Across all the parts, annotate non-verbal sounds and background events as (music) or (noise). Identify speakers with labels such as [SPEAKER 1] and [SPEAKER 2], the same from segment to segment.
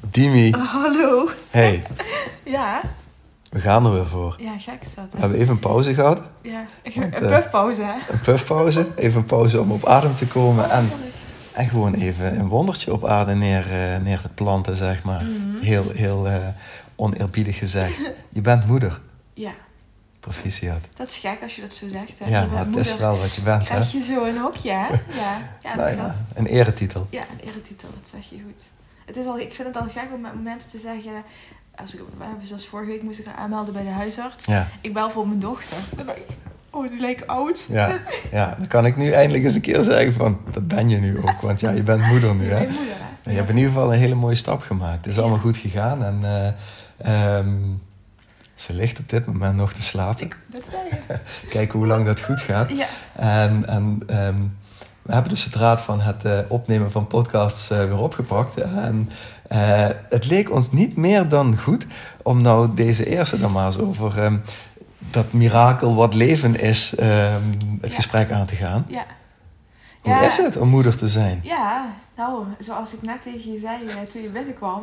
[SPEAKER 1] Dimi,
[SPEAKER 2] Hallo.
[SPEAKER 1] hey,
[SPEAKER 2] Ja,
[SPEAKER 1] we gaan er weer voor.
[SPEAKER 2] ja gek is dat.
[SPEAKER 1] We
[SPEAKER 2] Hè?
[SPEAKER 1] hebben even een pauze gehad,
[SPEAKER 2] Ja, een
[SPEAKER 1] eh,
[SPEAKER 2] puffpauze hè.
[SPEAKER 1] een puffpauze. Even een pauze om op adem te komen en, en gewoon even een wondertje op aarde neer, eh, neer te planten, zeg maar.
[SPEAKER 2] Mhm.
[SPEAKER 1] Heel, heel eh, oneerbiedig gezegd. Je bent moeder,
[SPEAKER 2] Ja,
[SPEAKER 1] proficiat.
[SPEAKER 2] dat is gek als je dat zo zegt. Hè.
[SPEAKER 1] Ja,
[SPEAKER 2] Je bent
[SPEAKER 1] maar het
[SPEAKER 2] moeder,
[SPEAKER 1] is wel wat je bent, hè?
[SPEAKER 2] Krijg je zo een hokje hè? Ja, ja dat
[SPEAKER 1] Nou
[SPEAKER 2] klopt.
[SPEAKER 1] ja, een eretitel.
[SPEAKER 2] Ja, een eretitel, dat zeg je goed. Het is al, ik vind het al gek om met momenten te zeggen... Als ik, we hebben zoals vorige week moest ik haar aanmelden bij de huisarts.
[SPEAKER 1] Ja.
[SPEAKER 2] Ik bel voor mijn dochter. Dan denk ik, Oh, die lijkt oud.
[SPEAKER 1] Ja, ja, dan kan ik nu eindelijk eens een keer zeggen van, dat ben je nu ook. Want ja, je bent moeder nu,
[SPEAKER 2] (laughs) Je
[SPEAKER 1] hè?
[SPEAKER 2] bent moeder hè.
[SPEAKER 1] Je hebt in ieder geval een hele mooie stap gemaakt. Het is
[SPEAKER 2] Ja.
[SPEAKER 1] allemaal goed gegaan en eh, ehm, ze ligt op dit moment nog te slapen.
[SPEAKER 2] Ik, dat zei je.
[SPEAKER 1] Kijken hoe lang dat goed gaat.
[SPEAKER 2] Ja,
[SPEAKER 1] En, en ehm, we hebben dus de draad van het eh, opnemen van podcasts eh, weer opgepakt. En eh, het leek ons niet meer dan goed om nou deze eerste dan maar eens over ehm, dat mirakel wat leven is, ehm, het
[SPEAKER 2] Ja.
[SPEAKER 1] gesprek aan te gaan.
[SPEAKER 2] ja.
[SPEAKER 1] Hoe is het om moeder te zijn?
[SPEAKER 2] Ja, nou, zoals ik net tegen je zei eh, toen je binnenkwam.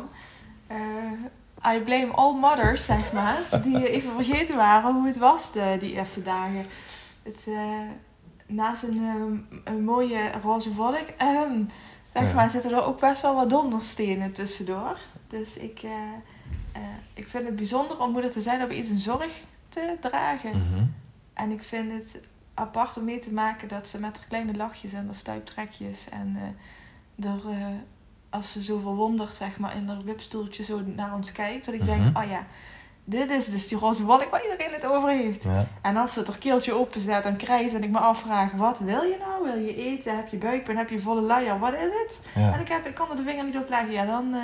[SPEAKER 2] eh, I blame all mothers,
[SPEAKER 1] (laughs)
[SPEAKER 2] zeg maar. Die even vergeten waren hoe het was de, die eerste dagen. Het, eh, naast een, ehm, een mooie roze wolk, ehm, zeg
[SPEAKER 1] Ja.
[SPEAKER 2] maar, zitten er ook best wel wat donderstenen tussendoor. Dus ik, eh, eh, ik vind het bijzonder om moeder te zijn om iets in zorg te dragen.
[SPEAKER 1] Mhm.
[SPEAKER 2] En ik vind het apart om mee te maken dat ze met haar kleine lachjes en haar stuiptrekjes en eh haar, eh, als ze zo verwonderd zeg maar in haar wipstoeltje zo naar ons kijkt, dat ik denk,
[SPEAKER 1] Mhm.
[SPEAKER 2] oh ja, dit is dus die roze wolk waar iedereen het over heeft.
[SPEAKER 1] Ja.
[SPEAKER 2] En als ze het haar keeltje openzet en krijgt en ik me afvraag, wat wil je nou? Wil je eten? Heb je buikpijn? Heb je volle luier? Wat is het?
[SPEAKER 1] Ja.
[SPEAKER 2] En ik, heb, ik kan er de vinger niet op leggen. Ja, dan, eh,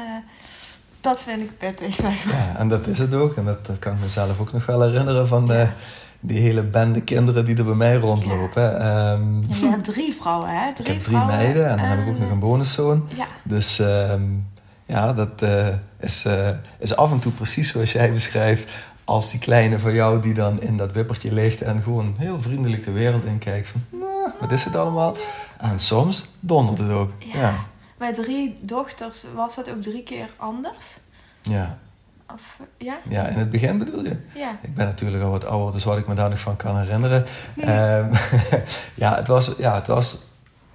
[SPEAKER 2] dat vind ik pittig zeg maar.
[SPEAKER 1] Ja, en dat is het ook. En dat, dat kan ik mezelf ook nog wel herinneren van de, die hele bende kinderen die er bij mij rondlopen. Ehm, (laughs)
[SPEAKER 2] Ja, je hebt drie vrouwen hè?
[SPEAKER 1] ik
[SPEAKER 2] Drie
[SPEAKER 1] heb drie
[SPEAKER 2] vrouwen. ehm,
[SPEAKER 1] meiden en dan heb ik ook nog een bonuszoon.
[SPEAKER 2] Ja.
[SPEAKER 1] Dus ehm, ja, dat eh, is, eh, is af en toe precies zoals jij beschrijft. Als die kleine van jou die dan in dat wippertje ligt en gewoon heel vriendelijk de wereld in kijkt. Van, "Nou, wat is het allemaal? En soms dondert het ook.
[SPEAKER 2] Ja. Bij drie dochters was dat ook drie keer anders?
[SPEAKER 1] ja.
[SPEAKER 2] Of, eh, ja?
[SPEAKER 1] ja, in het begin bedoel je?
[SPEAKER 2] Ja.
[SPEAKER 1] Ik ben natuurlijk al wat ouder, dus wat ik me daar nog van kan herinneren. Ehm, (laughs) ja, het was, ja het, was,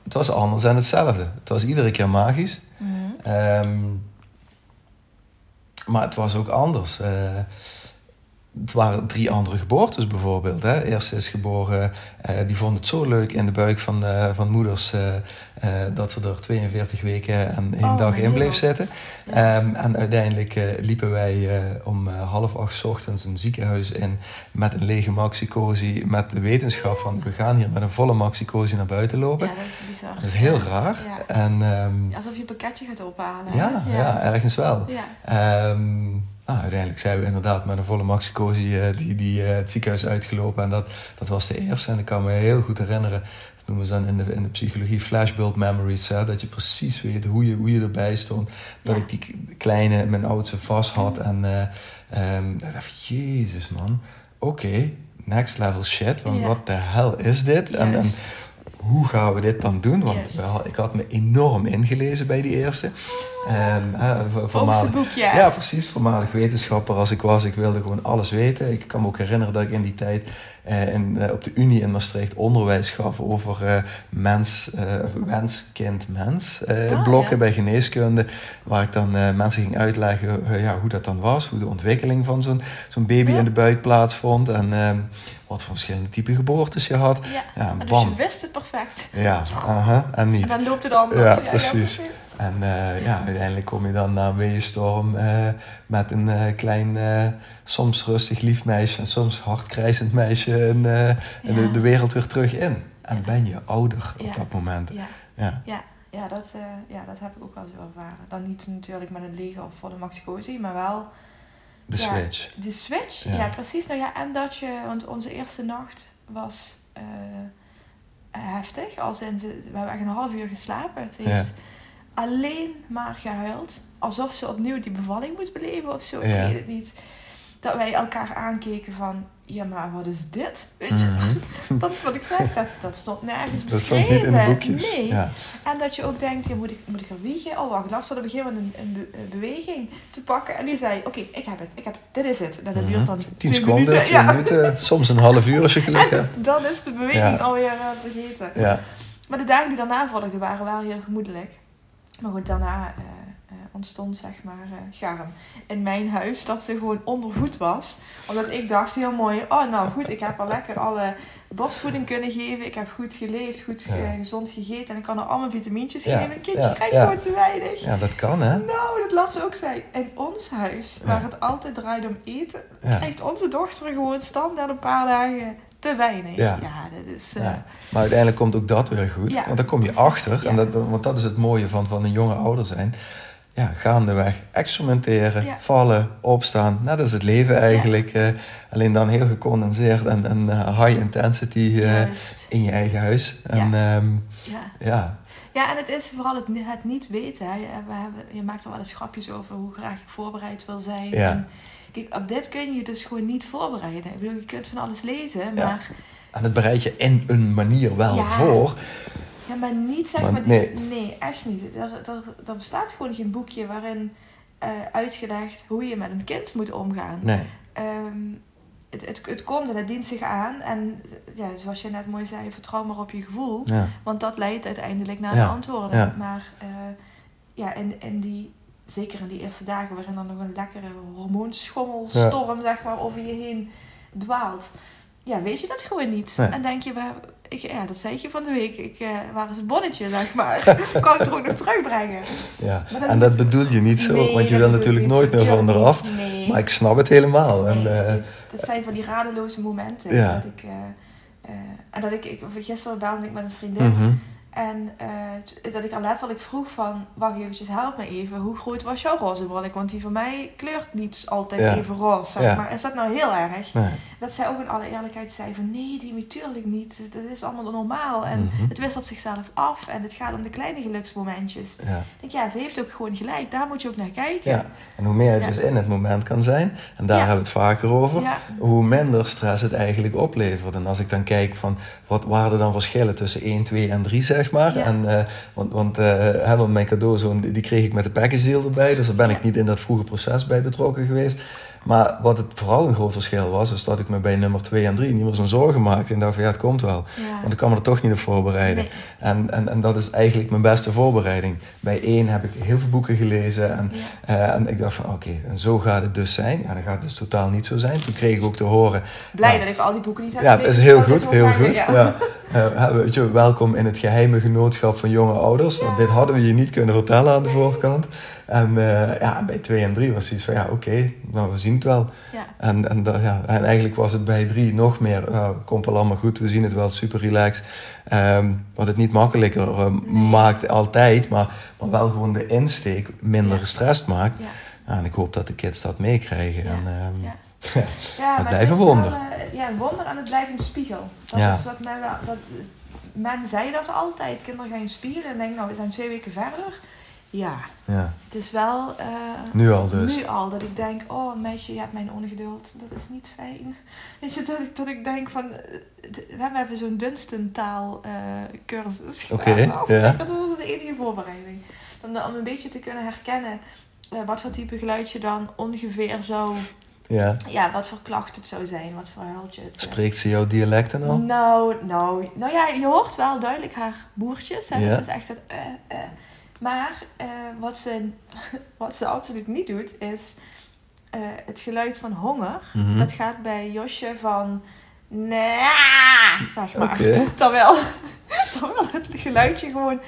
[SPEAKER 1] het was anders en hetzelfde. Het was iedere keer magisch.
[SPEAKER 2] Mhm.
[SPEAKER 1] Ehm, maar het was ook anders. Eh, het waren drie andere geboortes bijvoorbeeld. Hè. Eerst is geboren, eh, die vond het zo leuk in de buik van, eh, van moeders eh, eh, dat ze er 42 weken en één
[SPEAKER 2] Oh,
[SPEAKER 1] dag in
[SPEAKER 2] mijn
[SPEAKER 1] bleef
[SPEAKER 2] hemel.
[SPEAKER 1] zitten. Ehm, en uiteindelijk eh, liepen wij eh, om eh, half acht 's ochtends een ziekenhuis in met een lege maxicosi. Met de wetenschap van we gaan hier met een volle maxicosi naar buiten lopen.
[SPEAKER 2] ja, dat is bizar.
[SPEAKER 1] Dat is heel raar.
[SPEAKER 2] Ja.
[SPEAKER 1] En, ehm,
[SPEAKER 2] Alsof je een pakketje gaat ophalen. hè?
[SPEAKER 1] ja, ja.
[SPEAKER 2] Ja.
[SPEAKER 1] ergens wel.
[SPEAKER 2] Ja.
[SPEAKER 1] Ehm, nou, uiteindelijk zijn we inderdaad met een volle maxicosi eh, die, die, eh, het ziekenhuis uitgelopen. En dat, dat was de eerste. En ik kan me heel goed herinneren, dat noemen ze dan in de, in de psychologie flashbulb memories. Hè, dat je precies weet hoe je, hoe je erbij stond. Dat
[SPEAKER 2] Ja.
[SPEAKER 1] ik die k- kleine, mijn oudste vast had. En eh, ehm, dat ik dacht, jezus man, oké. next level shit. Want
[SPEAKER 2] Ja.
[SPEAKER 1] wat de hel is dit? En, en
[SPEAKER 2] Juist.
[SPEAKER 1] hoe gaan we dit dan doen? Want
[SPEAKER 2] Juist.
[SPEAKER 1] wel, ik had me enorm ingelezen bij die eerste. Ehm, eh, vo- voormalig-
[SPEAKER 2] boekje.
[SPEAKER 1] ja, precies. Voormalig wetenschapper als ik was. Ik wilde gewoon alles weten. Ik kan me ook herinneren dat ik in die tijd eh, in, eh, op de Unie in Maastricht onderwijs gaf over eh, mens, eh, wens, kind, mens. eh,
[SPEAKER 2] Ah,
[SPEAKER 1] blokken
[SPEAKER 2] ja.
[SPEAKER 1] bij geneeskunde. Waar ik dan eh, mensen ging uitleggen eh, ja, hoe dat dan was. Hoe de ontwikkeling van zo'n zo'n baby
[SPEAKER 2] Ja.
[SPEAKER 1] in de buik plaatsvond. En ehm, wat voor verschillende type geboortes je had.
[SPEAKER 2] Ja.
[SPEAKER 1] Ja, en
[SPEAKER 2] Dus je
[SPEAKER 1] bam.
[SPEAKER 2] wist het perfect.
[SPEAKER 1] Ja, aha, en
[SPEAKER 2] En
[SPEAKER 1] niet.
[SPEAKER 2] dan loopt het anders.
[SPEAKER 1] Ja, precies. En eh, ja, uiteindelijk kom je dan na een weeënstorm eh, met een eh, klein, eh, soms rustig lief meisje en soms hard krijzend meisje en, eh, en de,
[SPEAKER 2] Ja.
[SPEAKER 1] de wereld weer terug in. En
[SPEAKER 2] Ja.
[SPEAKER 1] ben je ouder op
[SPEAKER 2] Ja.
[SPEAKER 1] dat moment.
[SPEAKER 2] Ja,
[SPEAKER 1] Ja.
[SPEAKER 2] ja, ja, dat, eh, ja, dat heb ik ook wel zo ervaren. Dan niet natuurlijk met een leger of voor de maxicosi, maar wel
[SPEAKER 1] De
[SPEAKER 2] Ja.
[SPEAKER 1] switch.
[SPEAKER 2] de switch.
[SPEAKER 1] Ja.
[SPEAKER 2] Ja, precies. Nou ja, en dat je, want onze eerste nacht was eh, heftig. Als in, ze, we hebben echt een half uur geslapen. Ze
[SPEAKER 1] Ja.
[SPEAKER 2] heeft alleen maar gehuild. Alsof ze opnieuw die bevalling moet beleven of zo. Ik
[SPEAKER 1] Ja.
[SPEAKER 2] weet het niet. Dat wij elkaar aankeken van, ja maar wat is dit? Weet je,
[SPEAKER 1] Mhm.
[SPEAKER 2] dat is wat ik zeg. Dat, dat stond nergens
[SPEAKER 1] Dat
[SPEAKER 2] beschreven.
[SPEAKER 1] stond niet in de boekjes.
[SPEAKER 2] Nee.
[SPEAKER 1] Ja.
[SPEAKER 2] En dat je ook denkt, ja, moet, ik, moet ik er wiegen? Oh, wacht, Lars had op een gegeven moment een, een be- een beweging te pakken. En die zei, oké, ik heb het, ik heb het, dit is het. Nou, dat duurt dan
[SPEAKER 1] Mhm. Tien
[SPEAKER 2] twee
[SPEAKER 1] seconden,
[SPEAKER 2] minuten.
[SPEAKER 1] twee minuten, soms een half uur als je geluk hebt.
[SPEAKER 2] (laughs) Dan is de beweging
[SPEAKER 1] Ja.
[SPEAKER 2] alweer eh, vergeten.
[SPEAKER 1] Ja,
[SPEAKER 2] Maar de dagen die daarna volgden waren wel heel gemoedelijk. Maar goed, daarna eh, eh, ontstond zeg maar eh Garm in mijn huis dat ze gewoon ondervoed was. Omdat ik dacht heel mooi, oh nou goed, ik heb haar lekker alle borstvoeding kunnen geven. Ik heb goed geleefd, goed
[SPEAKER 1] Ja.
[SPEAKER 2] eh, gezond gegeten en ik kan haar allemaal vitamintjes
[SPEAKER 1] Ja,
[SPEAKER 2] geven. Een kindje
[SPEAKER 1] ja,
[SPEAKER 2] krijgt
[SPEAKER 1] ja.
[SPEAKER 2] gewoon te weinig.
[SPEAKER 1] ja dat kan hè.
[SPEAKER 2] Nou, dat laat ze ook zijn. In ons huis,
[SPEAKER 1] Ja.
[SPEAKER 2] waar het altijd draait om eten,
[SPEAKER 1] Ja.
[SPEAKER 2] krijgt onze dochter gewoon standaard een paar dagen te weinig.
[SPEAKER 1] Ja.
[SPEAKER 2] Ja, dat is... eh,
[SPEAKER 1] Ja. Maar uiteindelijk komt ook dat weer goed.
[SPEAKER 2] Ja,
[SPEAKER 1] want dan kom je
[SPEAKER 2] precies,
[SPEAKER 1] achter.
[SPEAKER 2] ja.
[SPEAKER 1] En dat, want dat is het mooie van, van een jonge ouder zijn. Ja, gaandeweg experimenteren,
[SPEAKER 2] Ja.
[SPEAKER 1] vallen, opstaan. Net als het leven eigenlijk. eh, alleen dan heel gecondenseerd en, en eh, high intensity eh,
[SPEAKER 2] Juist.
[SPEAKER 1] in je eigen huis. En ehm,
[SPEAKER 2] Ja.
[SPEAKER 1] ja,
[SPEAKER 2] ja, en het is vooral het, ni- het niet weten. Hè. Je, we hebben, je maakt er wel eens grapjes over hoe graag ik voorbereid wil zijn.
[SPEAKER 1] Ja.
[SPEAKER 2] En kijk, op dit kun je dus gewoon niet voorbereiden. Ik bedoel, je kunt van alles lezen,
[SPEAKER 1] Ja.
[SPEAKER 2] maar,
[SPEAKER 1] en dat bereid je in een manier wel
[SPEAKER 2] Ja.
[SPEAKER 1] voor.
[SPEAKER 2] ja, maar niet zeg
[SPEAKER 1] Maar
[SPEAKER 2] maar... die-
[SPEAKER 1] nee.
[SPEAKER 2] nee, echt niet. Er, er, er bestaat gewoon geen boekje waarin eh, uitgelegd hoe je met een kind moet omgaan.
[SPEAKER 1] Nee,
[SPEAKER 2] Ehm, het, het, het komt en het dient zich aan. En ja, zoals je net mooi zei, vertrouw maar op je gevoel.
[SPEAKER 1] ja.
[SPEAKER 2] Want dat leidt uiteindelijk naar
[SPEAKER 1] Ja,
[SPEAKER 2] de antwoorden.
[SPEAKER 1] ja.
[SPEAKER 2] Maar eh, ja, en, en die, zeker in die eerste dagen waarin dan nog een lekkere hormoonschommelstorm zeg maar, over je heen dwaalt. Ja, weet je dat gewoon niet.
[SPEAKER 1] Nee.
[SPEAKER 2] En denk je, we- ik, ja, dat zei ik je van de week. Ik, eh, waar is het bonnetje,
[SPEAKER 1] (laughs)
[SPEAKER 2] zeg maar? kan ik het er ook nog terugbrengen?
[SPEAKER 1] ja.
[SPEAKER 2] Maar dat
[SPEAKER 1] en dat bedoel je niet zo,
[SPEAKER 2] Nee,
[SPEAKER 1] want je
[SPEAKER 2] dat
[SPEAKER 1] wil
[SPEAKER 2] is
[SPEAKER 1] natuurlijk
[SPEAKER 2] niet.
[SPEAKER 1] nooit meer
[SPEAKER 2] Ik wil
[SPEAKER 1] van
[SPEAKER 2] niet.
[SPEAKER 1] eraf.
[SPEAKER 2] Nee.
[SPEAKER 1] Maar ik snap het helemaal. En, eh,
[SPEAKER 2] Het zijn van die radeloze momenten.
[SPEAKER 1] Ja.
[SPEAKER 2] Dat ik, eh, eh, en dat ik, ik, gisteren belde ik met een vriendin.
[SPEAKER 1] mhm.
[SPEAKER 2] En eh, t- dat ik al letterlijk vroeg van, wacht eventjes, help me even. Hoe groot was jouw roze wolk? Want die van mij kleurt niet altijd
[SPEAKER 1] Ja.
[SPEAKER 2] even roze. zeg
[SPEAKER 1] Ja.
[SPEAKER 2] Maar is dat nou heel erg?
[SPEAKER 1] Nee.
[SPEAKER 2] Dat zij ook in alle eerlijkheid zei van, nee, die natuurlijk niet. Dat is allemaal normaal. En
[SPEAKER 1] Mhm.
[SPEAKER 2] het wisselt zichzelf af. En het gaat om de kleine geluksmomentjes. Ik
[SPEAKER 1] Ja.
[SPEAKER 2] denk, ja, ze heeft ook gewoon gelijk. Daar moet je ook naar kijken.
[SPEAKER 1] Ja, en hoe meer je
[SPEAKER 2] Ja.
[SPEAKER 1] dus in het moment kan zijn, en daar
[SPEAKER 2] Ja.
[SPEAKER 1] hebben we het vaker over,
[SPEAKER 2] Ja.
[SPEAKER 1] hoe minder stress het eigenlijk oplevert. En als ik dan kijk van wat waren er dan verschillen tussen 1, 2 en 3, zeg maar.
[SPEAKER 2] Ja.
[SPEAKER 1] En, eh, want want eh, hè, want mijn cadeauzoon, die die kreeg ik met de package deal erbij, dus daar ben ik niet in dat vroege proces bij betrokken geweest. Maar wat het vooral een groot verschil was, is dat ik me bij nummer 2 en 3 niet meer zo'n zorgen maakte. En dacht van ja, het komt wel.
[SPEAKER 2] Ja.
[SPEAKER 1] Want ik kan me er toch niet op voorbereiden.
[SPEAKER 2] Nee.
[SPEAKER 1] En, en, en dat is eigenlijk mijn beste voorbereiding. Bij één heb ik heel veel boeken gelezen. En, eh, en ik dacht van oké, en zo gaat het dus zijn. En dat gaat het dus totaal niet zo zijn. Toen kreeg ik ook te horen.
[SPEAKER 2] Blij
[SPEAKER 1] ja,
[SPEAKER 2] dat ik al die boeken niet heb
[SPEAKER 1] ja, dat
[SPEAKER 2] gelezen,
[SPEAKER 1] is heel
[SPEAKER 2] maar dit
[SPEAKER 1] goed,
[SPEAKER 2] was
[SPEAKER 1] heel goed.
[SPEAKER 2] eigenlijk-
[SPEAKER 1] Ja.
[SPEAKER 2] ja.
[SPEAKER 1] Eh, weet je, welkom in het geheime genootschap van jonge ouders. Want dit hadden we je niet kunnen vertellen aan de voorkant. En eh, ja, en bij twee en drie was zoiets van ja, oké, nou we zien het wel.
[SPEAKER 2] Ja.
[SPEAKER 1] En, en, dat- ja, en eigenlijk was het bij drie nog meer, nou, komt wel allemaal goed, we zien het wel, super relaxed. Ehm, wat het niet makkelijker eh, maakt altijd, maar, maar wel gewoon de insteek minder
[SPEAKER 2] Ja.
[SPEAKER 1] gestrest maakt.
[SPEAKER 2] Ja.
[SPEAKER 1] Ja, en ik hoop dat de kids dat meekrijgen.
[SPEAKER 2] Ja,
[SPEAKER 1] En, ehm,
[SPEAKER 2] ja.
[SPEAKER 1] ja.
[SPEAKER 2] Ja,
[SPEAKER 1] Het
[SPEAKER 2] maar
[SPEAKER 1] blijft
[SPEAKER 2] is
[SPEAKER 1] een wonder.
[SPEAKER 2] wel, eh, ja, een wonder en het blijft een spiegel. Dat
[SPEAKER 1] Ja.
[SPEAKER 2] is wat men wel... Dat, men zei dat altijd, kinderen gaan spiegelen en denken, nou, we zijn twee weken verder. Ja,
[SPEAKER 1] Ja.
[SPEAKER 2] het is wel eh,
[SPEAKER 1] Nu al dus.
[SPEAKER 2] nu al dat ik denk, oh meisje, je hebt mijn ongeduld. Dat is niet fijn. Weet je, dat ik, dat ik denk van, eh, d- we hebben zo'n Dunstentaal eh cursus
[SPEAKER 1] Oké,
[SPEAKER 2] gedaan als-
[SPEAKER 1] ja.
[SPEAKER 2] Dat was de enige voorbereiding. Om, om een beetje te kunnen herkennen eh, wat voor type geluid je dan ongeveer zou...
[SPEAKER 1] Ja.
[SPEAKER 2] Ja, wat voor klacht het zou zijn, wat voor huiltje het... eh,
[SPEAKER 1] Spreekt ze jouw dialect dan al?
[SPEAKER 2] nou, nou, nou ja, je hoort wel duidelijk haar boertjes. Hè?
[SPEAKER 1] Ja.
[SPEAKER 2] Dat is echt het. eh, eh. Maar eh, wat, ze, (laughs) wat ze absoluut niet doet, is eh, het geluid van honger.
[SPEAKER 1] Mhm.
[SPEAKER 2] Dat gaat bij Josje van. Nee, zeg maar.
[SPEAKER 1] Oké.
[SPEAKER 2] (laughs) Terwijl, terwijl het geluidje gewoon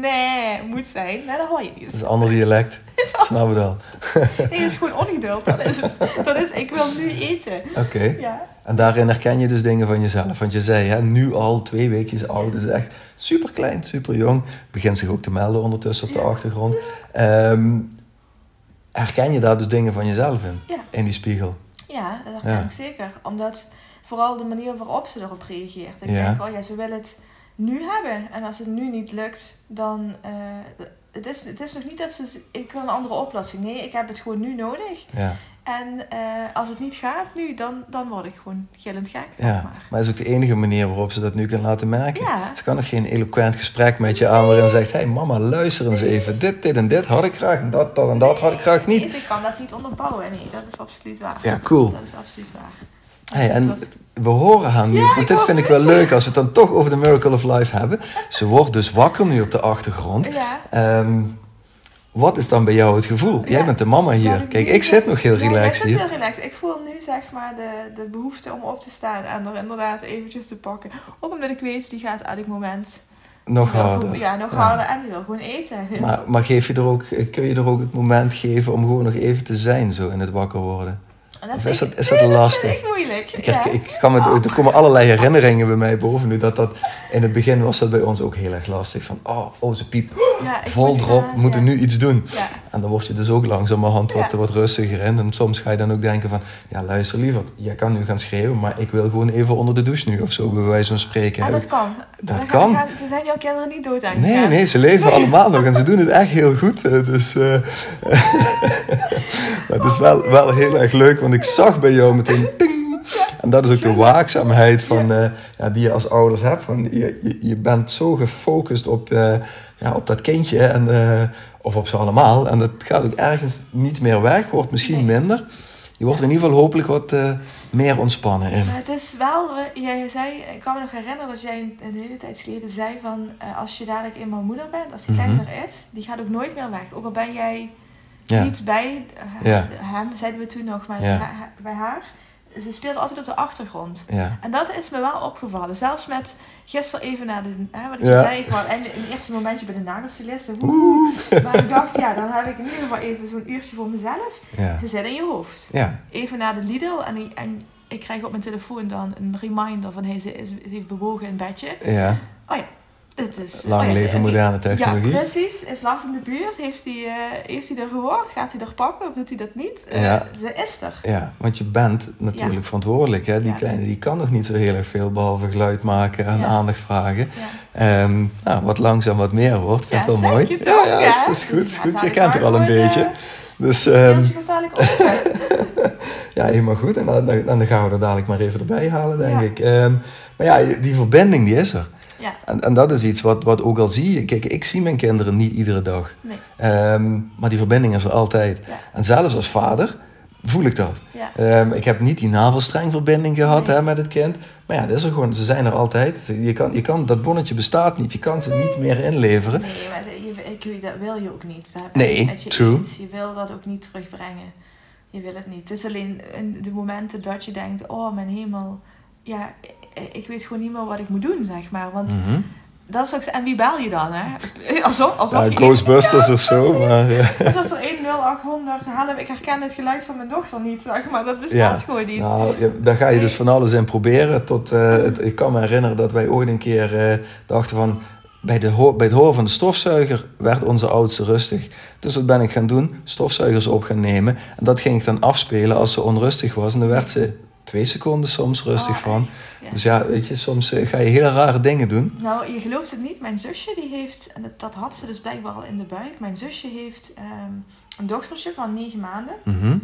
[SPEAKER 2] nee moet zijn. Nee, dat hoor je
[SPEAKER 1] Dat is
[SPEAKER 2] niet.
[SPEAKER 1] een ander
[SPEAKER 2] (laughs)
[SPEAKER 1] dialect. Snap we dan.
[SPEAKER 2] Nee,
[SPEAKER 1] (laughs)
[SPEAKER 2] dat is gewoon ongeduld. Dat is het. Dat is, ik wil nu eten.
[SPEAKER 1] Oké.
[SPEAKER 2] Ja.
[SPEAKER 1] En daarin herken je dus dingen van jezelf. Want je zei, hè, nu al twee weekjes oud, is echt super klein, super jong. Begint zich ook te melden ondertussen op de
[SPEAKER 2] Ja.
[SPEAKER 1] achtergrond. Ehm, herken je daar dus dingen van jezelf in?
[SPEAKER 2] Ja.
[SPEAKER 1] In die spiegel.
[SPEAKER 2] Ja, dat
[SPEAKER 1] Ja.
[SPEAKER 2] kan ik zeker. Omdat vooral de manier waarop ze erop reageert. Ik
[SPEAKER 1] Ja.
[SPEAKER 2] denk, oh ja, ze wil het nu hebben. En als het nu niet lukt, dan... eh, het, is, het is nog niet dat ze... z- Ik wil een andere oplossing. Nee, ik heb het gewoon nu nodig.
[SPEAKER 1] Ja.
[SPEAKER 2] En eh, als het niet gaat nu, dan, dan word ik gewoon gillend gek, zeg
[SPEAKER 1] ja.
[SPEAKER 2] maar.
[SPEAKER 1] Maar dat is ook de enige manier waarop ze dat nu kan laten merken.
[SPEAKER 2] Ja.
[SPEAKER 1] Ze kan nog geen eloquent gesprek met je aan waarin ze zegt... Hé hey, mama, luister eens even. Dit, dit en dit had ik graag. En dat, dat en dat had ik graag niet.
[SPEAKER 2] Nee, ze kan dat niet onderbouwen. Nee, dat is absoluut waar.
[SPEAKER 1] Ja, cool.
[SPEAKER 2] Dat is absoluut waar.
[SPEAKER 1] Hey, en
[SPEAKER 2] Klopt.
[SPEAKER 1] we horen haar nu,
[SPEAKER 2] Ja,
[SPEAKER 1] want
[SPEAKER 2] ik
[SPEAKER 1] dit
[SPEAKER 2] hoor
[SPEAKER 1] vind ik wel
[SPEAKER 2] het.
[SPEAKER 1] leuk als we het dan toch over de Miracle of Life hebben. Ze wordt dus wakker nu op de achtergrond.
[SPEAKER 2] Ja.
[SPEAKER 1] Ehm, wat is dan bij jou het gevoel? Jij
[SPEAKER 2] Ja,
[SPEAKER 1] bent de mama
[SPEAKER 2] Dat
[SPEAKER 1] hier. Kijk,
[SPEAKER 2] nu-
[SPEAKER 1] ik zit nog heel
[SPEAKER 2] Ja, jij
[SPEAKER 1] relaxed
[SPEAKER 2] zit
[SPEAKER 1] hier.
[SPEAKER 2] heel relaxed. Ik voel nu zeg maar de, de behoefte om op te staan en er inderdaad eventjes te pakken. Ook omdat ik weet, die gaat elk moment...
[SPEAKER 1] Nog
[SPEAKER 2] die wil
[SPEAKER 1] harder.
[SPEAKER 2] gewoon- Ja, nog
[SPEAKER 1] Ja.
[SPEAKER 2] harder en die wil gewoon eten.
[SPEAKER 1] Maar, maar geef je er ook, kun je er ook het moment geven om gewoon nog even te zijn zo in het wakker worden?
[SPEAKER 2] (laughs) En dat
[SPEAKER 1] of
[SPEAKER 2] vind
[SPEAKER 1] is
[SPEAKER 2] ik-
[SPEAKER 1] dat- is dat
[SPEAKER 2] Nee,
[SPEAKER 1] lastig?
[SPEAKER 2] vind ik moeilijk.
[SPEAKER 1] Ik,
[SPEAKER 2] ja. Oh.
[SPEAKER 1] herken- ik kan met, er komen allerlei herinneringen bij mij boven nu. Dat dat, in het begin was dat bij ons ook heel erg lastig. Van, oh, oh ze piept.
[SPEAKER 2] Ja, ik
[SPEAKER 1] Vol
[SPEAKER 2] moet
[SPEAKER 1] erop,
[SPEAKER 2] gaan,
[SPEAKER 1] moeten
[SPEAKER 2] ja.
[SPEAKER 1] nu iets doen.
[SPEAKER 2] Ja.
[SPEAKER 1] En dan word je dus ook langzamerhand wat,
[SPEAKER 2] Ja.
[SPEAKER 1] wat rustiger in. En soms ga je dan ook denken van... Ja, luister liever. Jij kan nu gaan schreeuwen, maar ik wil gewoon even onder de douche nu. Of zo, bij wijze van spreken.
[SPEAKER 2] En Ah, dat kan. Dan gaan-
[SPEAKER 1] kan.
[SPEAKER 2] gaan- ze zijn jouw kinderen niet dood aan.
[SPEAKER 1] Nee, nee, ze leven
[SPEAKER 2] (laughs)
[SPEAKER 1] allemaal nog. En ze doen het echt heel goed. eh, Dus... eh, (laughs) maar het is wel, wel heel erg leuk, want ik zag bij jou meteen...
[SPEAKER 2] (laughs)
[SPEAKER 1] Ping, en dat is ook de waakzaamheid van, eh, ja, die je als ouders hebt. Van, je, je, je bent zo gefocust op, eh, ja, op dat kindje en, eh, of op ze allemaal. En dat gaat ook ergens niet meer weg, wordt misschien minder. Je wordt er in ieder geval hopelijk wat eh, meer ontspannen in.
[SPEAKER 2] Maar het is wel, eh, jij zei, ik kan me nog herinneren dat jij een, een hele tijd geleden zei van eh, als je dadelijk eenmaal moeder bent, als
[SPEAKER 1] Mhm.
[SPEAKER 2] die kleine er is, die gaat ook nooit meer weg. Ook al ben jij
[SPEAKER 1] Ja.
[SPEAKER 2] niet bij eh,
[SPEAKER 1] Ja.
[SPEAKER 2] hem, zeiden we toen nog, maar
[SPEAKER 1] Ja.
[SPEAKER 2] ha- ha- bij haar. Ze speelt altijd op de achtergrond.
[SPEAKER 1] Ja.
[SPEAKER 2] En dat is me wel opgevallen. Zelfs met gisteren even naar de... Hè, wat ik
[SPEAKER 1] Ja.
[SPEAKER 2] je zei, ik wou en een eerste momentje bij de nagelstylist. en woe. Maar ik dacht, ja, dan heb ik in ieder geval even zo'n uurtje voor mezelf.
[SPEAKER 1] Ja.
[SPEAKER 2] Ze zit in je hoofd
[SPEAKER 1] ja.
[SPEAKER 2] even naar de Lidl en, ik- en ik krijg op mijn telefoon dan een reminder van hey, ze, is, ze heeft bewogen in bedje.
[SPEAKER 1] Ja.
[SPEAKER 2] Oh ja, het is...
[SPEAKER 1] Lang
[SPEAKER 2] oh ja,
[SPEAKER 1] leven
[SPEAKER 2] oké.
[SPEAKER 1] moderne technologie.
[SPEAKER 2] Ja, precies. Is langs in de buurt. Heeft hij eh, heeft hij er gehoord? Gaat hij er pakken of doet hij dat niet? Eh,
[SPEAKER 1] Ja.
[SPEAKER 2] ze is er.
[SPEAKER 1] Ja, want je bent natuurlijk
[SPEAKER 2] Ja.
[SPEAKER 1] verantwoordelijk. Hè? Die
[SPEAKER 2] Ja.
[SPEAKER 1] kleine die kan nog niet zo heel erg veel behalve geluid maken en
[SPEAKER 2] Ja.
[SPEAKER 1] aandacht vragen.
[SPEAKER 2] Ja.
[SPEAKER 1] Ehm, nou, wat langzaam wat meer wordt, vind ik
[SPEAKER 2] Ja,
[SPEAKER 1] wel
[SPEAKER 2] zeg
[SPEAKER 1] mooi.
[SPEAKER 2] je toch,
[SPEAKER 1] ja,
[SPEAKER 2] ja.
[SPEAKER 1] is, is goed. Is
[SPEAKER 2] Ja,
[SPEAKER 1] goed.
[SPEAKER 2] zou
[SPEAKER 1] Je
[SPEAKER 2] ik
[SPEAKER 1] kent
[SPEAKER 2] maar
[SPEAKER 1] er al een
[SPEAKER 2] gewoon,
[SPEAKER 1] beetje.
[SPEAKER 2] eh,
[SPEAKER 1] Dus
[SPEAKER 2] Um,
[SPEAKER 1] ehm,
[SPEAKER 2] je gaat
[SPEAKER 1] (laughs)
[SPEAKER 2] dadelijk opzetten.
[SPEAKER 1] ja, helemaal goed. En dan, dan dan gaan we er dadelijk maar even erbij halen, denk
[SPEAKER 2] Ja.
[SPEAKER 1] ik. Ehm, maar ja, die verbinding die is er.
[SPEAKER 2] Ja,
[SPEAKER 1] En, en dat is iets wat, wat ook al zie je. Kijk, ik zie mijn kinderen niet iedere dag.
[SPEAKER 2] nee.
[SPEAKER 1] Ehm, maar die verbinding is er altijd.
[SPEAKER 2] Ja.
[SPEAKER 1] En zelfs als vader voel ik dat.
[SPEAKER 2] Ja.
[SPEAKER 1] Ehm, ik heb niet die navelstrengverbinding gehad
[SPEAKER 2] Nee.
[SPEAKER 1] hè, met het kind. Maar ja, dat is er gewoon, ze zijn er altijd. Je kan, je kan, dat bonnetje bestaat niet. Je kan ze niet meer inleveren.
[SPEAKER 2] Nee, maar dat- je, ik, weet- dat wil je ook niet. Dat heb
[SPEAKER 1] Nee,
[SPEAKER 2] ik met je
[SPEAKER 1] true.
[SPEAKER 2] eens. Je wil dat ook niet terugbrengen. Je wil het niet. Het is alleen in de momenten dat je denkt, oh mijn hemel, ja, ik- ik weet gewoon niet meer wat ik moet doen, zeg maar. Want
[SPEAKER 1] Mhm.
[SPEAKER 2] dat is ook, en wie bel je dan, hè? (laughs) Alsof, alsof
[SPEAKER 1] Ja,
[SPEAKER 2] je...
[SPEAKER 1] Ghostbusters
[SPEAKER 2] Ja,
[SPEAKER 1] of zo.
[SPEAKER 2] precies.
[SPEAKER 1] Maar, ja.
[SPEAKER 2] Alsof er 10800, help, ik herken het geluid van mijn dochter niet, zeg maar. Dat bestaat
[SPEAKER 1] Ja.
[SPEAKER 2] gewoon niet.
[SPEAKER 1] Nou, ja, daar ga je dus van alles in proberen. Tot, eh, het- ik kan me herinneren dat wij ooit een keer eh, dachten van... Bij, de ho- bij het horen van de stofzuiger werd onze oudste rustig. Dus wat ben ik gaan doen? Stofzuigers op gaan nemen. En dat ging ik dan afspelen als ze onrustig was. En dan werd ze twee seconden soms rustig
[SPEAKER 2] Oh,
[SPEAKER 1] van.
[SPEAKER 2] echt? Ja.
[SPEAKER 1] Dus ja, weet je, soms eh, ga je hele rare dingen doen.
[SPEAKER 2] Nou, je gelooft het niet. Mijn zusje die heeft, en dat, dat had ze dus blijkbaar al in de buik. Mijn zusje heeft ehm, een dochtertje van negen maanden.
[SPEAKER 1] Mhm.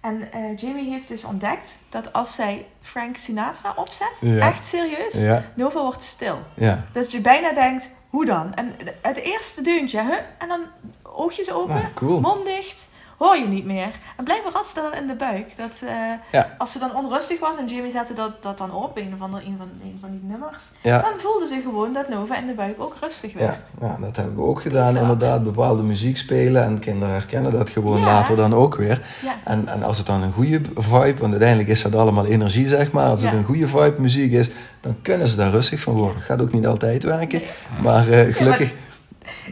[SPEAKER 2] En eh, Jamie heeft dus ontdekt dat als zij Frank Sinatra opzet,
[SPEAKER 1] Ja.
[SPEAKER 2] echt serieus,
[SPEAKER 1] Ja,
[SPEAKER 2] Nova wordt stil.
[SPEAKER 1] ja.
[SPEAKER 2] Dat je bijna denkt, hoe dan? En het eerste deuntje, hè? En dan oogjes open,
[SPEAKER 1] Nou, cool.
[SPEAKER 2] mond dicht, hoor je niet meer. En blijkbaar had ze dat dan in de buik. Dat, eh,
[SPEAKER 1] Ja.
[SPEAKER 2] Als ze dan onrustig was en Jamie zette dat, dat dan op, een, of ander, een, van, een van die nummers,
[SPEAKER 1] Ja.
[SPEAKER 2] dan voelde ze gewoon dat Nova in de buik ook rustig
[SPEAKER 1] Ja,
[SPEAKER 2] werd.
[SPEAKER 1] ja, dat hebben we ook gedaan.
[SPEAKER 2] Zo.
[SPEAKER 1] Inderdaad, bepaalde muziek spelen en kinderen herkennen dat gewoon
[SPEAKER 2] Ja.
[SPEAKER 1] later dan ook weer.
[SPEAKER 2] Ja.
[SPEAKER 1] En, en als het dan een goede vibe, want uiteindelijk is dat allemaal energie, zeg maar. Als het
[SPEAKER 2] Ja.
[SPEAKER 1] een goede vibe muziek is, dan kunnen ze daar rustig van worden. Gaat ook niet altijd werken,
[SPEAKER 2] Nee.
[SPEAKER 1] maar eh, gelukkig.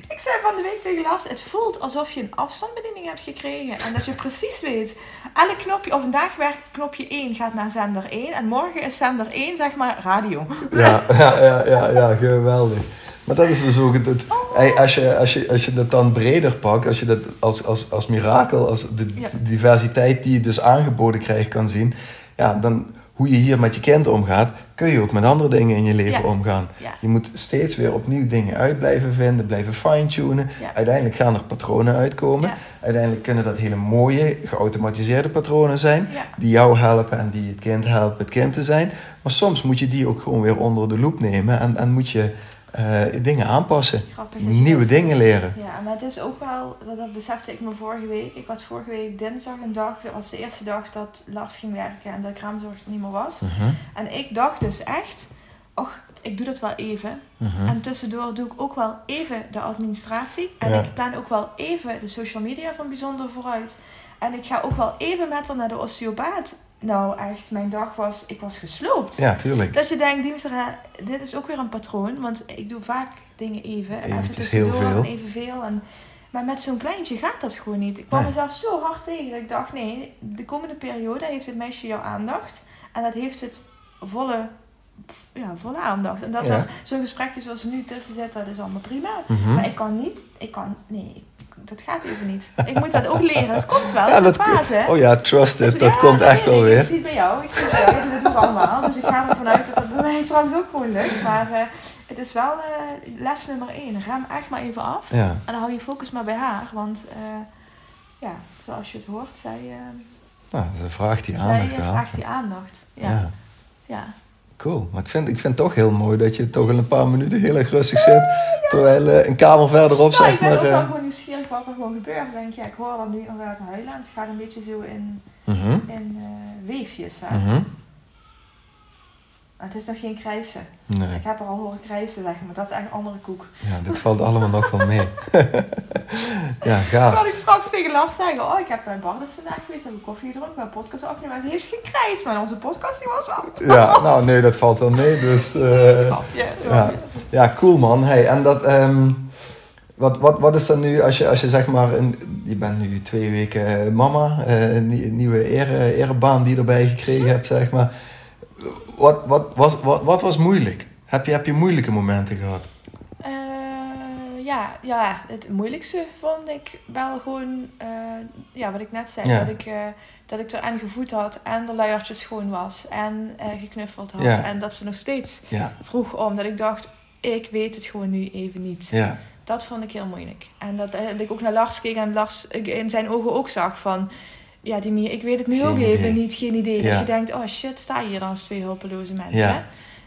[SPEAKER 2] Ik zei van de week tegen Lars, het voelt alsof je een afstandsbediening hebt gekregen. En dat je precies weet, elk knopje, of vandaag werkt knopje 1, gaat naar zender 1. En morgen is zender 1, zeg maar, radio.
[SPEAKER 1] Ja, (laughs) ja, ja, ja, ja, geweldig. Maar dat is dus ook het. het- hey, als, je, als, je, als je dat dan breder pakt, als je dat als, als, als mirakel, als de
[SPEAKER 2] Ja.
[SPEAKER 1] diversiteit die je dus aangeboden krijgt kan zien, ja, dan hoe je hier met je kind omgaat, kun je ook met andere dingen in je leven
[SPEAKER 2] Ja.
[SPEAKER 1] omgaan.
[SPEAKER 2] Ja.
[SPEAKER 1] Je moet steeds weer opnieuw dingen uit blijven vinden, blijven fine-tunen.
[SPEAKER 2] Ja.
[SPEAKER 1] Uiteindelijk gaan er patronen uitkomen.
[SPEAKER 2] Ja.
[SPEAKER 1] Uiteindelijk kunnen dat hele mooie, geautomatiseerde patronen zijn.
[SPEAKER 2] Ja.
[SPEAKER 1] Die jou helpen en die het kind helpen het kind te zijn. Maar soms moet je die ook gewoon weer onder de loep nemen. En, en moet je eh, dingen aanpassen.
[SPEAKER 2] Grappig dat je
[SPEAKER 1] Nieuwe
[SPEAKER 2] dat
[SPEAKER 1] dingen leren.
[SPEAKER 2] Ja, maar het is ook wel, dat, dat besefte ik me vorige week. Ik had vorige week dinsdag een dag, dat was de eerste dag dat Lars ging werken en de kraamzorg er niet meer was.
[SPEAKER 1] Mhm,
[SPEAKER 2] En ik dacht dus echt, och, ik doe dat wel even.
[SPEAKER 1] mhm.
[SPEAKER 2] En tussendoor doe ik ook wel even de administratie. En
[SPEAKER 1] Ja.
[SPEAKER 2] ik plan ook wel even de social media van Bijzonder vooruit. En ik ga ook wel even met haar naar de osteopaat. Nou echt, mijn dag was, ik was gesloopt.
[SPEAKER 1] Ja, tuurlijk.
[SPEAKER 2] Dat je denkt, Diemstra, dit is ook weer een patroon. Want ik doe vaak dingen even. en
[SPEAKER 1] Eventjes
[SPEAKER 2] even tussendoor
[SPEAKER 1] heel veel.
[SPEAKER 2] En evenveel. En, maar met zo'n kleintje gaat dat gewoon niet. Ik kwam
[SPEAKER 1] Nee.
[SPEAKER 2] mezelf zo hard tegen dat ik dacht, nee, de komende periode heeft het meisje jouw aandacht. En dat heeft het volle, ja, volle aandacht. En dat
[SPEAKER 1] Ja.
[SPEAKER 2] er zo'n gesprekje zoals er nu tussen zit, dat is allemaal prima.
[SPEAKER 1] Mhm.
[SPEAKER 2] Maar ik kan niet, ik kan, nee, ik- dat gaat even niet. Ik moet dat ook leren. Dat komt wel, dat
[SPEAKER 1] Ja,
[SPEAKER 2] is een
[SPEAKER 1] dat,
[SPEAKER 2] fase. hè?
[SPEAKER 1] oh ja, trust it.
[SPEAKER 2] Dus,
[SPEAKER 1] dat
[SPEAKER 2] ja,
[SPEAKER 1] komt
[SPEAKER 2] dat
[SPEAKER 1] echt
[SPEAKER 2] weet
[SPEAKER 1] wel
[SPEAKER 2] ik. Ik
[SPEAKER 1] weer.
[SPEAKER 2] zie het bij jou, ik zie het bij jou, dat doe ik allemaal. Dus ik ga ervan uit dat dat bij mij trouwens ook gewoon lukt. Maar eh, het is wel eh, les nummer één. Rem echt maar even af.
[SPEAKER 1] Ja.
[SPEAKER 2] En dan hou je focus maar bij haar. Want eh, ja, zoals je het hoort, zij, eh,
[SPEAKER 1] Nou, dat is een vraag die
[SPEAKER 2] zij
[SPEAKER 1] aandacht haalt.
[SPEAKER 2] vraagt die aandacht. Ja, ja.
[SPEAKER 1] Ja. Cool, maar ik vind, ik vind het toch heel mooi dat je toch in een paar minuten heel erg rustig zit. Terwijl eh, een kamer verderop,
[SPEAKER 2] Nou, ik
[SPEAKER 1] zeg
[SPEAKER 2] ben
[SPEAKER 1] maar.
[SPEAKER 2] ook wel
[SPEAKER 1] eh,
[SPEAKER 2] gewoon nieuwsgierig wat er gewoon gebeurt. Ik denk, ja, ik hoor dat nu inderdaad huilen. En het gaat een beetje zo in,
[SPEAKER 1] mhm,
[SPEAKER 2] in eh, weefjes. Hè.
[SPEAKER 1] mhm.
[SPEAKER 2] Het is nog geen krijsen.
[SPEAKER 1] Nee,
[SPEAKER 2] Ik heb er al horen krijsen, zeg maar. Dat is echt een andere koek.
[SPEAKER 1] ja, dit valt allemaal nog wel mee. (laughs) ja,
[SPEAKER 2] Kan
[SPEAKER 1] gaaf.
[SPEAKER 2] ik straks tegen Lars zeggen, oh, ik heb bij Bardes vandaag geweest, heb ik koffie gedronken, mijn podcast opgenomen. Maar ze heeft geen krijs, maar onze podcast die was wel een
[SPEAKER 1] Ja, nou nee, dat valt wel mee. Dus eh,
[SPEAKER 2] grapje.
[SPEAKER 1] ja. ja, cool man. Hey, en dat, ehm, wat, wat, wat is dan nu als je, als je zeg maar, een, je bent nu twee weken eh, mama, eh, een nie- nieuwe ere, erebaan die je erbij gekregen hebt, zeg maar. Wat, wat, was, wat, wat was moeilijk? Heb je, heb je moeilijke momenten gehad?
[SPEAKER 2] Eh, ja, ja, het moeilijkste vond ik wel gewoon, eh, ja, wat ik net zei,
[SPEAKER 1] Ja.
[SPEAKER 2] dat, ik, eh dat ik er aan gevoed had en de luiertje schoon was en eh, geknuffeld had.
[SPEAKER 1] Ja.
[SPEAKER 2] En dat ze nog steeds
[SPEAKER 1] Ja,
[SPEAKER 2] vroeg om, dat ik dacht, ik weet het gewoon nu even niet.
[SPEAKER 1] ja,
[SPEAKER 2] Dat vond ik heel moeilijk. En dat, eh, dat ik ook naar Lars keek en Lars ik in zijn ogen ook zag van... Ja, die Mia, ik weet het nu
[SPEAKER 1] Geen
[SPEAKER 2] ook
[SPEAKER 1] idee.
[SPEAKER 2] even niet, geen idee.
[SPEAKER 1] Ja.
[SPEAKER 2] Dus je denkt, oh shit, sta je hier dan als twee hulpeloze mensen?
[SPEAKER 1] Ja.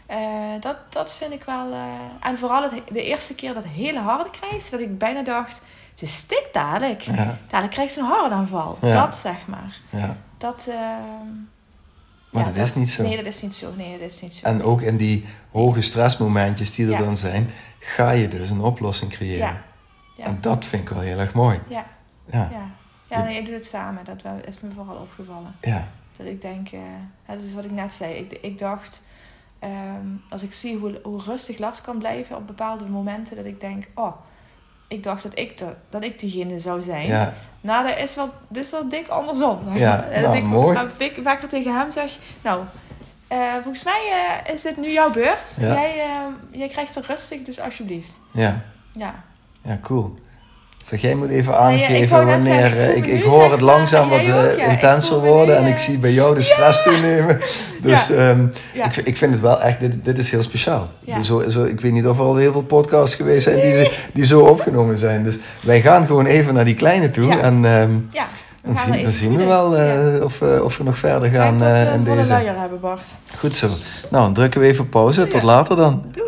[SPEAKER 2] hè? Eh, dat, dat vind ik wel... eh, en vooral het, de eerste keer dat hele harde krijs, dat ik bijna dacht... Ze stikt dadelijk.
[SPEAKER 1] ja,
[SPEAKER 2] Dadelijk krijgt ze een hardaanval.
[SPEAKER 1] Ja.
[SPEAKER 2] Dat, zeg maar.
[SPEAKER 1] ja.
[SPEAKER 2] Dat... eh,
[SPEAKER 1] Maar
[SPEAKER 2] ja,
[SPEAKER 1] dat is niet zo.
[SPEAKER 2] Nee, dat is niet zo. Nee, dat is niet zo.
[SPEAKER 1] En ook in die hoge stressmomentjes die er
[SPEAKER 2] Ja.
[SPEAKER 1] dan zijn, ga je dus een oplossing creëren.
[SPEAKER 2] Ja. Ja.
[SPEAKER 1] En dat vind ik wel heel erg mooi.
[SPEAKER 2] Ja.
[SPEAKER 1] Ja,
[SPEAKER 2] Ja. ja, nee, ik doe het samen. Dat wel- is me vooral opgevallen.
[SPEAKER 1] ja,
[SPEAKER 2] Dat ik denk, eh, ja, dat is wat ik net zei. Ik, ik dacht, ehm, als ik zie hoe, hoe rustig Lars kan blijven op bepaalde momenten, dat ik denk, oh, ik dacht dat ik, de, dat ik diegene zou zijn.
[SPEAKER 1] ja,
[SPEAKER 2] Nou, dat is wel, dit is wel dik andersom. zeg
[SPEAKER 1] Ja,
[SPEAKER 2] maar. En
[SPEAKER 1] nou,
[SPEAKER 2] (laughs) dat ik
[SPEAKER 1] mooi.
[SPEAKER 2] maar dik vaker tegen hem zeg, nou, eh, volgens mij eh, is dit nu jouw beurt.
[SPEAKER 1] Ja.
[SPEAKER 2] Jij, eh, jij krijgt het rustig, dus alsjeblieft.
[SPEAKER 1] ja.
[SPEAKER 2] Ja,
[SPEAKER 1] Ja, cool. Zeg, jij moet even
[SPEAKER 2] ja,
[SPEAKER 1] aangeven
[SPEAKER 2] ik wou net
[SPEAKER 1] wanneer... eh,
[SPEAKER 2] zeggen, ik voel
[SPEAKER 1] ik,
[SPEAKER 2] me
[SPEAKER 1] ik
[SPEAKER 2] nu,
[SPEAKER 1] hoor
[SPEAKER 2] zeg
[SPEAKER 1] het
[SPEAKER 2] maar,
[SPEAKER 1] langzaam
[SPEAKER 2] en
[SPEAKER 1] wat
[SPEAKER 2] jij ook, ja.
[SPEAKER 1] eh,
[SPEAKER 2] Ik
[SPEAKER 1] intenser
[SPEAKER 2] voel me nu,
[SPEAKER 1] worden en
[SPEAKER 2] eh,
[SPEAKER 1] ik zie bij jou de stress
[SPEAKER 2] (laughs)
[SPEAKER 1] toenemen. Dus ehm,
[SPEAKER 2] Ja.
[SPEAKER 1] ik, ik vind het wel echt, dit, dit is heel speciaal.
[SPEAKER 2] Ja.
[SPEAKER 1] Zo, zo, ik weet niet of er al heel veel podcasts geweest zijn die, ze- die zo opgenomen zijn. Dus wij gaan gewoon even naar die kleine toe
[SPEAKER 2] Ja.
[SPEAKER 1] en... ehm,
[SPEAKER 2] Ja,
[SPEAKER 1] dan
[SPEAKER 2] gaan
[SPEAKER 1] zien,
[SPEAKER 2] even
[SPEAKER 1] dan zien we
[SPEAKER 2] voeden.
[SPEAKER 1] wel eh,
[SPEAKER 2] Ja.
[SPEAKER 1] of, eh, of we nog verder gaan
[SPEAKER 2] Kijk dat
[SPEAKER 1] eh,
[SPEAKER 2] we
[SPEAKER 1] in
[SPEAKER 2] een volle
[SPEAKER 1] deze.
[SPEAKER 2] luier hebben, Bart.
[SPEAKER 1] Goed zo. Nou, dan drukken we even pauze. Tot
[SPEAKER 2] Ja.
[SPEAKER 1] later dan.
[SPEAKER 2] Doei.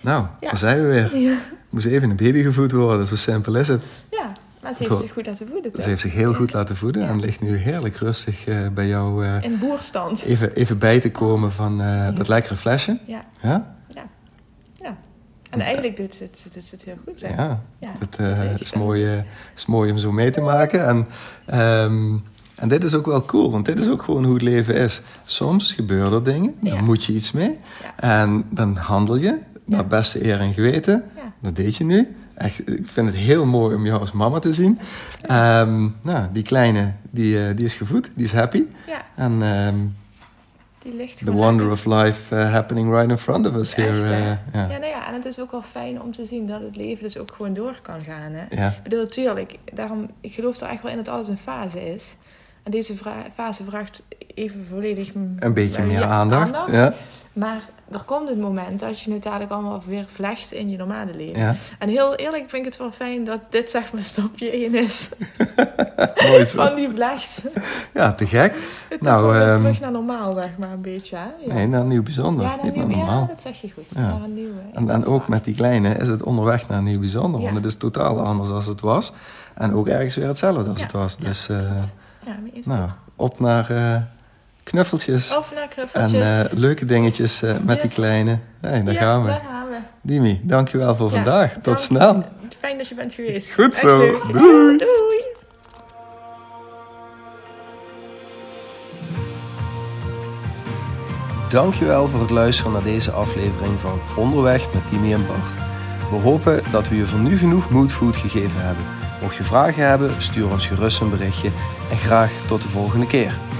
[SPEAKER 1] Nou,
[SPEAKER 2] Ja.
[SPEAKER 1] daar zijn we weer.
[SPEAKER 2] Ja.
[SPEAKER 1] Moest even een baby gevoed worden, zo simpel is het.
[SPEAKER 2] Ja, maar ze
[SPEAKER 1] Goed.
[SPEAKER 2] heeft zich goed laten voeden, toch?
[SPEAKER 1] Ze heeft zich heel goed laten voeden en ligt nu heerlijk rustig eh, bij jou eh,
[SPEAKER 2] In boerstand.
[SPEAKER 1] even, even bij te komen van eh, dat lekkere flesje.
[SPEAKER 2] Ja.
[SPEAKER 1] Ja?
[SPEAKER 2] En eigenlijk doet ze het, doet ze het heel goed, hè?
[SPEAKER 1] Ja.
[SPEAKER 2] Ja,
[SPEAKER 1] Het
[SPEAKER 2] is een
[SPEAKER 1] eh,
[SPEAKER 2] beetje
[SPEAKER 1] is,
[SPEAKER 2] zo.
[SPEAKER 1] mooi, eh, is mooi om zo mee te maken. En, ehm, en dit is ook wel cool, want dit is ook gewoon hoe het leven is. Soms gebeuren er dingen, daar
[SPEAKER 2] Ja.
[SPEAKER 1] moet je iets mee. En dan handel je naar beste eer en geweten.
[SPEAKER 2] Ja.
[SPEAKER 1] Dat deed je nu. Echt, ik vind het heel mooi om jou als mama te zien. Ehm, nou, die kleine, die, eh, die is gevoed, die is happy.
[SPEAKER 2] Ja,
[SPEAKER 1] En ehm,
[SPEAKER 2] die ligt
[SPEAKER 1] the
[SPEAKER 2] gewoon
[SPEAKER 1] wonder of life eh, happening right in front of us
[SPEAKER 2] Echt,
[SPEAKER 1] here.
[SPEAKER 2] hè?
[SPEAKER 1] eh, ja.
[SPEAKER 2] lekker. Ja, nou ja, en het is ook wel fijn om te zien dat het leven dus ook gewoon door kan gaan, hè?
[SPEAKER 1] Ja.
[SPEAKER 2] Ik bedoel, natuurlijk, daarom, ik geloof er echt wel in dat alles een fase is. En deze vra- fase vraagt even volledig... m-
[SPEAKER 1] Een beetje
[SPEAKER 2] ja,
[SPEAKER 1] meer aandacht. Ja.
[SPEAKER 2] Maar er komt het moment dat je het dadelijk allemaal weer vlecht in je normale leven.
[SPEAKER 1] Ja.
[SPEAKER 2] En heel eerlijk vind ik het wel fijn dat dit zeg maar stapje 1
[SPEAKER 1] (laughs)
[SPEAKER 2] is
[SPEAKER 1] Mooi zo.
[SPEAKER 2] van die vlecht.
[SPEAKER 1] Ja, te gek.
[SPEAKER 2] Het
[SPEAKER 1] Nou,
[SPEAKER 2] nou,
[SPEAKER 1] ehm,
[SPEAKER 2] terug naar normaal, zeg maar, een beetje. Hè? Ja.
[SPEAKER 1] Nee, naar nieuw bijzonder.
[SPEAKER 2] ja, naar
[SPEAKER 1] Niet
[SPEAKER 2] nieuw,
[SPEAKER 1] naar
[SPEAKER 2] ja,
[SPEAKER 1] normaal.
[SPEAKER 2] dat zeg je goed.
[SPEAKER 1] Ja.
[SPEAKER 2] Naar een nieuwe.
[SPEAKER 1] En, en ook met die kleine is het onderweg naar nieuw bijzonder.
[SPEAKER 2] Ja.
[SPEAKER 1] Want het is totaal anders als het was. En ook ergens weer hetzelfde als
[SPEAKER 2] Ja,
[SPEAKER 1] het was. Dus eh,
[SPEAKER 2] Ja, mee eens.
[SPEAKER 1] nou, op naar eh, knuffeltjes.
[SPEAKER 2] Of naar
[SPEAKER 1] En
[SPEAKER 2] knuffeltjes.
[SPEAKER 1] eh, leuke dingetjes eh, met die
[SPEAKER 2] Yes.
[SPEAKER 1] kleine. Hey, daar
[SPEAKER 2] Ja,
[SPEAKER 1] gaan we.
[SPEAKER 2] Daar gaan we.
[SPEAKER 1] Dimi, dankjewel voor
[SPEAKER 2] Ja,
[SPEAKER 1] vandaag. Tot
[SPEAKER 2] dank.
[SPEAKER 1] snel.
[SPEAKER 2] Fijn dat je bent geweest.
[SPEAKER 1] Goed
[SPEAKER 2] Echt
[SPEAKER 1] zo.
[SPEAKER 2] leuk.
[SPEAKER 1] Doei.
[SPEAKER 2] Doei.
[SPEAKER 1] Dankjewel voor het luisteren naar deze aflevering van Onderweg met Dimi en Bart. We hopen dat we je voor nu genoeg mood food gegeven hebben. Mocht je vragen hebben, stuur ons gerust een berichtje. En graag tot de volgende keer.